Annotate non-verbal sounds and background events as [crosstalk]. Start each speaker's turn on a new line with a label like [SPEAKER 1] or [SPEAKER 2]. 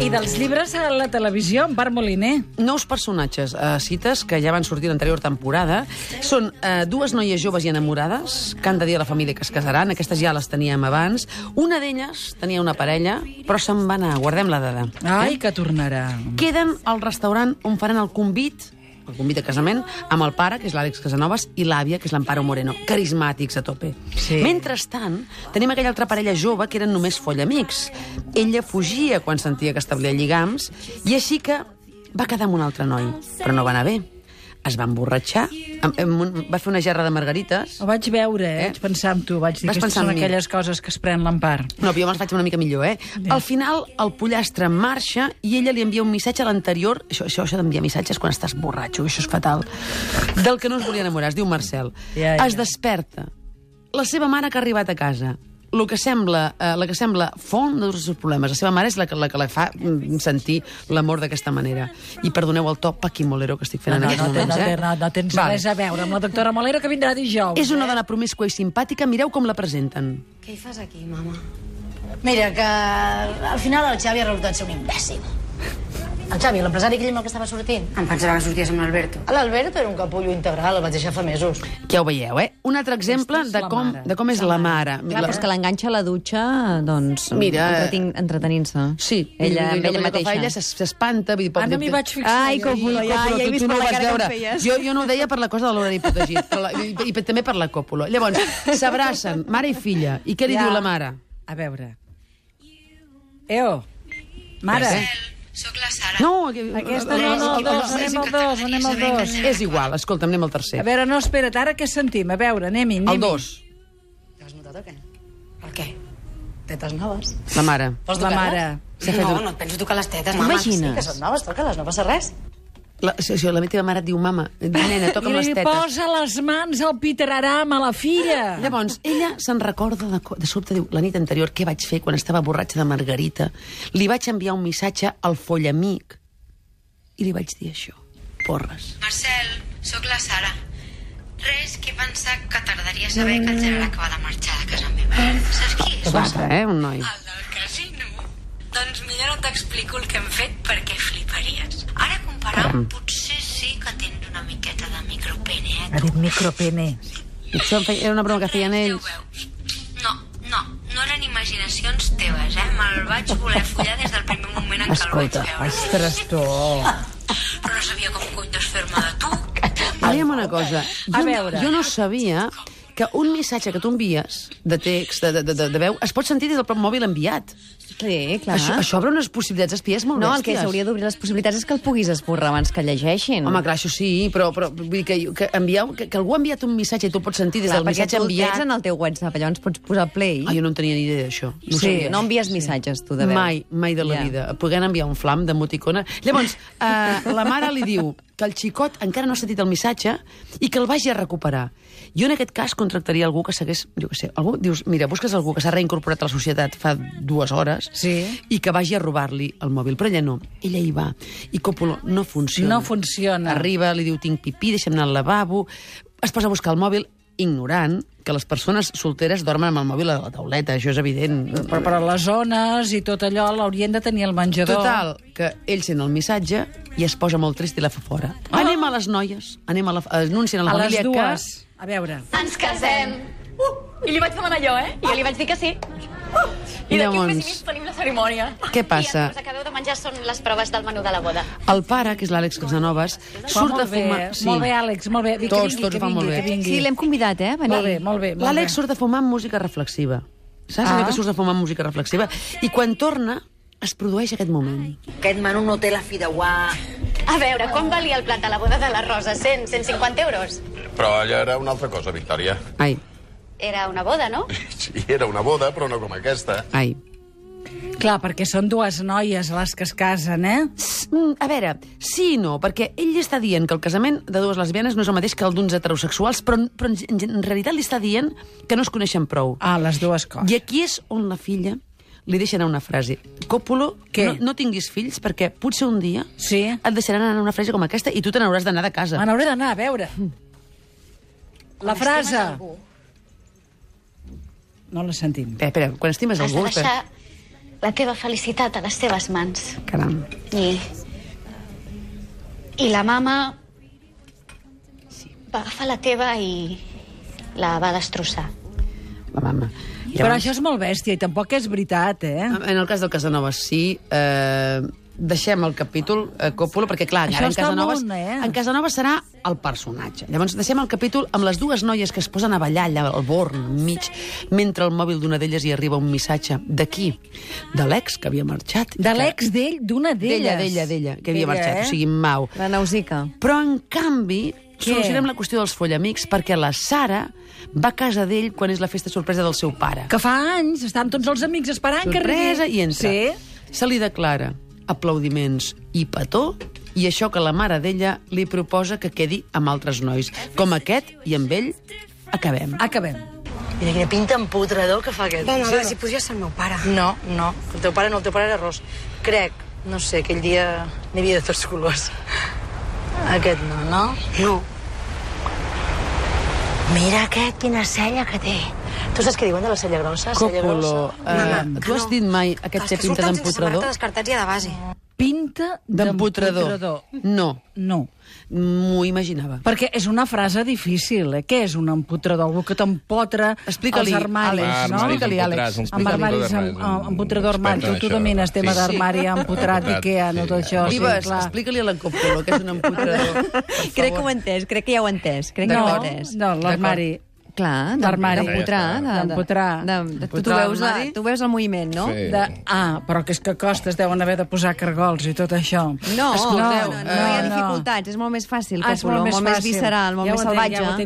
[SPEAKER 1] I dels llibres a la televisió, en Bar Moliner.
[SPEAKER 2] Nous personatges a eh, cites que ja van sortir l'anterior temporada. Són eh, dues noies joves i enamorades que han de dir a la família que es casaran. Aquestes ja les teníem abans. Una d'elles tenia una parella, però se'n va anar. Guardem la dada.
[SPEAKER 1] Ai, que tornarà.
[SPEAKER 2] Queden al restaurant on faran el convit el convit a casament, amb el pare, que és l'Àlex Casanovas, i l'àvia, que és l'Amparo Moreno. Carismàtics a tope.
[SPEAKER 1] Sí.
[SPEAKER 2] Mentrestant, tenim aquella altra parella jove que eren només follamics. Ella fugia quan sentia que establia lligams, i així que va quedar amb un altre noi, però no va anar bé. Es va emborratxar, amb- amb un- va fer una gerra de margarites...
[SPEAKER 1] Ho vaig veure, eh?
[SPEAKER 2] Eh?
[SPEAKER 1] Vaig pensar en tu, vaig dir
[SPEAKER 2] Vas
[SPEAKER 1] que
[SPEAKER 2] pensar
[SPEAKER 1] són
[SPEAKER 2] en mi.
[SPEAKER 1] aquelles coses que es pren l'empar.
[SPEAKER 2] No, però jo me'ls vaig una mica millor, eh? Al final, el pollastre marxa i ella li envia un missatge a l'anterior... Això, això, això d'enviar missatges quan estàs borratxo, això és fatal. Del que no es volia enamorar, es diu Marcel.
[SPEAKER 1] Ja, ja.
[SPEAKER 2] Es desperta. La seva mare que ha arribat a casa lo que sembla, eh, la que sembla font dels seus problemes. La seva mare és la que la, que la fa mm, sentir l'amor d'aquesta manera. I perdoneu el to paquimolero que estic fent en aquests
[SPEAKER 1] no, té-
[SPEAKER 2] moments.
[SPEAKER 1] no,
[SPEAKER 2] eh?
[SPEAKER 1] té- no, no tens
[SPEAKER 2] Vale.
[SPEAKER 1] res a veure amb la doctora Molero, que vindrà dijous.
[SPEAKER 2] És una dona promíscua i simpàtica, mireu com la presenten.
[SPEAKER 3] Què hi fas aquí, mama?
[SPEAKER 4] Mira, que al final el Xavi ha resultat ser un imbècil. El Xavi, l'empresari aquell amb el que estava sortint.
[SPEAKER 3] Em pensava que sorties amb l'Alberto.
[SPEAKER 4] L'Alberto era un capullo integral, el vaig deixar fa mesos.
[SPEAKER 2] Ja ho veieu, eh? Un altre exemple
[SPEAKER 1] Aquesta és
[SPEAKER 2] de
[SPEAKER 1] la
[SPEAKER 2] com,
[SPEAKER 1] mare.
[SPEAKER 2] de com és la mare.
[SPEAKER 5] Clar, però és que l'enganxa a la dutxa, doncs,
[SPEAKER 2] Mira,
[SPEAKER 5] entretin- entretenint-se.
[SPEAKER 2] Sí,
[SPEAKER 5] ella,
[SPEAKER 2] vull dir, el
[SPEAKER 5] amb ella
[SPEAKER 2] que fa
[SPEAKER 5] mateixa.
[SPEAKER 2] Ella s'es- s'espanta. vull dir, pot-
[SPEAKER 1] Ara Ah, m'hi vaig fixar.
[SPEAKER 5] Ai,
[SPEAKER 1] jo.
[SPEAKER 5] com volia,
[SPEAKER 2] Ja,
[SPEAKER 5] ja
[SPEAKER 2] però
[SPEAKER 5] he
[SPEAKER 2] tu,
[SPEAKER 5] vist
[SPEAKER 2] tu no ho
[SPEAKER 5] per la
[SPEAKER 2] vas
[SPEAKER 5] cara que em
[SPEAKER 2] veure.
[SPEAKER 5] feies.
[SPEAKER 2] Jo, jo no ho deia per la cosa de l'horari protegit, però la, i, i, també per la còpula. Llavors, s'abracen, mare i filla. I què li
[SPEAKER 1] Ja.
[SPEAKER 2] diu la mare?
[SPEAKER 1] A veure. Eo, mare.
[SPEAKER 2] Res,
[SPEAKER 3] Sóc la Sara.
[SPEAKER 2] No, aqu-
[SPEAKER 1] Aquesta no, no, el dos, anem al dos, anem al dos.
[SPEAKER 2] És igual, escolta, anem al
[SPEAKER 1] A
[SPEAKER 2] tercer.
[SPEAKER 1] veure, no, espera't, ara què sentim? A veure, anem-hi, anem-hi.
[SPEAKER 2] El dos,
[SPEAKER 4] Has notat o què? El què? Tetes noves.
[SPEAKER 2] la mare.
[SPEAKER 4] Vols
[SPEAKER 1] La
[SPEAKER 4] tocar-les?
[SPEAKER 1] mare.
[SPEAKER 3] No, no et penso tocar les tetes, mama.
[SPEAKER 4] Sí, que són noves, toca-les, no passa res.
[SPEAKER 2] La, sí, sí, la meva mare et diu, mama, nena,
[SPEAKER 1] I
[SPEAKER 2] toca'm les
[SPEAKER 1] li
[SPEAKER 2] tetes. Ah,
[SPEAKER 1] posa les mans al Peter Aram, a la filla.
[SPEAKER 2] Llavors, ella se'n recorda de, co- de sobte, diu, la nit anterior, què vaig fer quan estava borratxa de Margarita? Li vaig enviar un missatge al follamic i li vaig dir això. Porres.
[SPEAKER 3] Marcel, sóc la Sara. Res que pensar que tardaria a saber que el Gerard acaba de marxar de casa meva. Saps qui és?
[SPEAKER 2] Guapa, eh, un noi.
[SPEAKER 3] El del casino. Doncs millor no t'explico el que hem fet perquè fliparies. Ara
[SPEAKER 2] Mm.
[SPEAKER 3] comparant, potser sí que tens una miqueta de micropene, eh?
[SPEAKER 1] Ha dit micropene.
[SPEAKER 2] Això em feia, era una broma que feien
[SPEAKER 3] Ja ho
[SPEAKER 2] ells.
[SPEAKER 3] veus. No, no, no eren imaginacions teves, eh? Me'l vaig voler follar des del primer moment en què el vaig
[SPEAKER 2] Escolta,
[SPEAKER 3] veure.
[SPEAKER 1] Ostres, tu.
[SPEAKER 3] Però no sabia com cony desfer-me de
[SPEAKER 2] [laughs]
[SPEAKER 3] tu.
[SPEAKER 2] Aviam una cosa. Jo,
[SPEAKER 1] A
[SPEAKER 2] no-
[SPEAKER 1] veure.
[SPEAKER 2] Jo no sabia que un missatge que tu envies de text, de, de, de, de veu, es pot sentir des del propi mòbil enviat.
[SPEAKER 5] Sí, clar.
[SPEAKER 2] Això, això obre unes possibilitats espies molt
[SPEAKER 5] No, el que
[SPEAKER 2] bèsties.
[SPEAKER 5] s'hauria d'obrir les possibilitats és que el puguis esborrar abans que llegeixin.
[SPEAKER 2] Home, clar, això sí, però, però vull dir que, que, envieu, que, que algú ha enviat un missatge i tu el pots sentir des
[SPEAKER 5] Clar,
[SPEAKER 2] del
[SPEAKER 5] perquè
[SPEAKER 2] missatge
[SPEAKER 5] tu el
[SPEAKER 2] enviat.
[SPEAKER 5] tens en el teu WhatsApp, llavors pots posar play.
[SPEAKER 2] Ah, jo no en tenia ni idea d'això. No ho
[SPEAKER 5] sí,
[SPEAKER 2] sabia.
[SPEAKER 5] no envies missatges, tu, de veu.
[SPEAKER 2] Mai, mai de la
[SPEAKER 5] Ja.
[SPEAKER 2] vida. Podent enviar un flam d'emoticona. Llavors, eh, la mare li diu que el xicot encara no ha sentit el missatge i que el vagi a recuperar. Jo, en aquest cas, contractaria algú que segués... Jo què sé, algú... Dius, mira, busques algú que s'ha reincorporat a la societat fa dues hores
[SPEAKER 1] Sí.
[SPEAKER 2] i que vagi a robar-li el mòbil. Però ella no. Ella hi va. I Coppola no funciona.
[SPEAKER 1] No funciona.
[SPEAKER 2] Arriba, li diu, tinc pipí, deixa'm anar al lavabo. Es posa a buscar el mòbil, ignorant que les persones solteres dormen amb el mòbil a la tauleta. Això és evident.
[SPEAKER 1] Però, però les zones i tot allò l'haurien de tenir al menjador.
[SPEAKER 2] Total, que ell sent el missatge i es posa molt trist i la fa fora. Anem a les noies, anem a la, anuncien a la
[SPEAKER 1] Ah! A les
[SPEAKER 2] família
[SPEAKER 1] dues. A veure.
[SPEAKER 6] Ens casem. Uh, I li vaig demanar jo, eh? I jo li vaig dir que sí. Uh, I d'aquí un mes i
[SPEAKER 2] Llavors-
[SPEAKER 6] mig tenim la cerimònia.
[SPEAKER 2] Què passa?
[SPEAKER 6] I el que us acabeu de menjar són les proves del menú de la boda.
[SPEAKER 2] que el pare, que és l'Àlex Casanovas,
[SPEAKER 1] Fa
[SPEAKER 2] surt a
[SPEAKER 1] molt bé,
[SPEAKER 2] fumar...
[SPEAKER 1] eh? Molt bé, Àlex, molt bé. Dic que
[SPEAKER 2] Tots,
[SPEAKER 1] vingui,
[SPEAKER 2] tots
[SPEAKER 1] que
[SPEAKER 2] va molt
[SPEAKER 1] vingui,
[SPEAKER 2] bé.
[SPEAKER 1] que vingui.
[SPEAKER 5] Sí, l'hem convidat, eh, a venir.
[SPEAKER 1] Molt bé, molt bé. Molt
[SPEAKER 2] L'Àlex
[SPEAKER 1] bé.
[SPEAKER 2] surt a fumar amb música reflexiva. Saps ah. allò que surts a fumar amb música reflexiva? I quan torna, es produeix aquest moment.
[SPEAKER 4] Aquest menú no té la fideuà.
[SPEAKER 6] A veure, com valia el plat de la boda de la Rosa? 100, 150 euros?
[SPEAKER 7] Però allà era una altra cosa, Victòria. [laughs]
[SPEAKER 2] Ai,
[SPEAKER 6] Era una boda, no?
[SPEAKER 7] Sí, era una boda, però no com aquesta.
[SPEAKER 2] ai.
[SPEAKER 1] Clar, perquè són dues noies les que es casen, eh?
[SPEAKER 2] Mm, A veure, sí i no, perquè ell li està dient que el casament de dues lesbianes no és el mateix que el d'uns heterosexuals, però, en- però en, gen- en realitat li està dient que no es coneixen prou.
[SPEAKER 1] Ah, les dues coses.
[SPEAKER 2] I aquí és on la filla li deixa anar una frase. Còpolo,
[SPEAKER 1] Què?
[SPEAKER 2] no, no tinguis fills perquè potser un dia
[SPEAKER 1] Sí.
[SPEAKER 2] et deixaran anar una frase com aquesta i tu te n'hauràs d'anar de casa.
[SPEAKER 1] Me n'hauré d'anar a veure. La frase. No la sentim.
[SPEAKER 2] Espera, espera, quan estimes
[SPEAKER 6] Has de
[SPEAKER 2] algú...
[SPEAKER 6] deixar
[SPEAKER 8] la teva felicitat a les teves mans.
[SPEAKER 2] Caram.
[SPEAKER 8] I... I la mama... Va agafar la teva i la va destrossar.
[SPEAKER 2] La mama.
[SPEAKER 1] Però això és molt bèstia i tampoc és veritat, eh?
[SPEAKER 2] En el cas del Casanova, sí. Eh, deixem el capítol eh, Coppola, perquè clar,
[SPEAKER 1] Això
[SPEAKER 2] encara en
[SPEAKER 1] està
[SPEAKER 2] Casanova,
[SPEAKER 1] molt, eh?
[SPEAKER 2] en Casanova serà el personatge. Llavors deixem el capítol amb les dues noies que es posen a ballar allà al born, mig, mentre al mòbil d'una d'elles hi arriba un missatge. De qui? De l'ex, que havia marxat.
[SPEAKER 1] De l'ex d'ell, d'una d'elles.
[SPEAKER 2] D'ella, d'ella, d'ella, que havia
[SPEAKER 1] D'ella,
[SPEAKER 2] marxat,
[SPEAKER 1] eh?
[SPEAKER 2] o sigui, mau.
[SPEAKER 5] La Nausica.
[SPEAKER 2] Però, en canvi,
[SPEAKER 1] Què?
[SPEAKER 2] solucionem la qüestió dels follamics perquè la Sara va a casa d'ell quan és la festa sorpresa del seu pare.
[SPEAKER 1] Que fa anys estan tots els amics esperant que
[SPEAKER 2] Sorpresa
[SPEAKER 1] arribi.
[SPEAKER 2] i entra.
[SPEAKER 1] Sí.
[SPEAKER 2] Se li declara aplaudiments i petó i això que la mare d'ella li proposa que quedi amb altres nois. Com aquest i amb ell acabem.
[SPEAKER 1] Acabem.
[SPEAKER 4] Mira quina pinta emputrador que fa aquest.
[SPEAKER 9] Dona, dona, si podria ser el meu pare.
[SPEAKER 4] No, no, el teu pare no, el teu pare era ros. Crec, no sé, aquell dia n'hi havia de tots colors. Aquest no, no?
[SPEAKER 9] No.
[SPEAKER 4] Mira aquest, quina cella que té. Tu saps què diuen de la cella grossa? Cella grossa.
[SPEAKER 2] Copolo, eh, tu has dit mai
[SPEAKER 4] Ah,
[SPEAKER 2] aquest té pinta d'empotrador?
[SPEAKER 9] Els que surten sense samarreta descartats ja de base.
[SPEAKER 1] Pinta
[SPEAKER 2] D'empotrador. No,
[SPEAKER 1] No.
[SPEAKER 2] m'ho imaginava.
[SPEAKER 1] Perquè és una frase difícil, eh? Què és un empotrador? Algú que t'empotra
[SPEAKER 2] Explica-li,
[SPEAKER 1] els armaris,
[SPEAKER 2] Àlex,
[SPEAKER 1] no?
[SPEAKER 2] explica-li, Àlex.
[SPEAKER 1] Amb armaris, amb, amb, empotrador armari. Tu, tu domines tema
[SPEAKER 2] Sí, sí.
[SPEAKER 1] d'armari, empotrat, Ikea, no tot això.
[SPEAKER 2] Vives,
[SPEAKER 1] sí, clar.
[SPEAKER 2] explica-li a la Copolo que és un empotrador. Per
[SPEAKER 5] [laughs] Crec que
[SPEAKER 2] favor.
[SPEAKER 5] ho he entès, crec que ja ho he entès. Crec que
[SPEAKER 1] No,
[SPEAKER 5] ho he entès.
[SPEAKER 1] no, l'armari.
[SPEAKER 5] Clar,
[SPEAKER 1] L'armari.
[SPEAKER 5] d'empotrar. de- de-
[SPEAKER 1] D'empotrar.
[SPEAKER 5] de- de- Tu, tu,
[SPEAKER 2] Empotrar
[SPEAKER 5] veus, la,
[SPEAKER 2] l'armari.
[SPEAKER 5] tu veus el moviment, no?
[SPEAKER 1] De... Ah, però que és que costes deuen haver de posar cargols i tot això.
[SPEAKER 5] No,
[SPEAKER 1] Escolteu,
[SPEAKER 5] no, no, no, hi ha dificultats, és molt més fàcil,
[SPEAKER 1] Ah,
[SPEAKER 5] que
[SPEAKER 1] és molt més
[SPEAKER 5] molt més
[SPEAKER 1] fàcil.
[SPEAKER 5] visceral, molt
[SPEAKER 1] Ja ho entenc, ja
[SPEAKER 5] més
[SPEAKER 1] ho
[SPEAKER 5] salvatge.
[SPEAKER 1] entenc.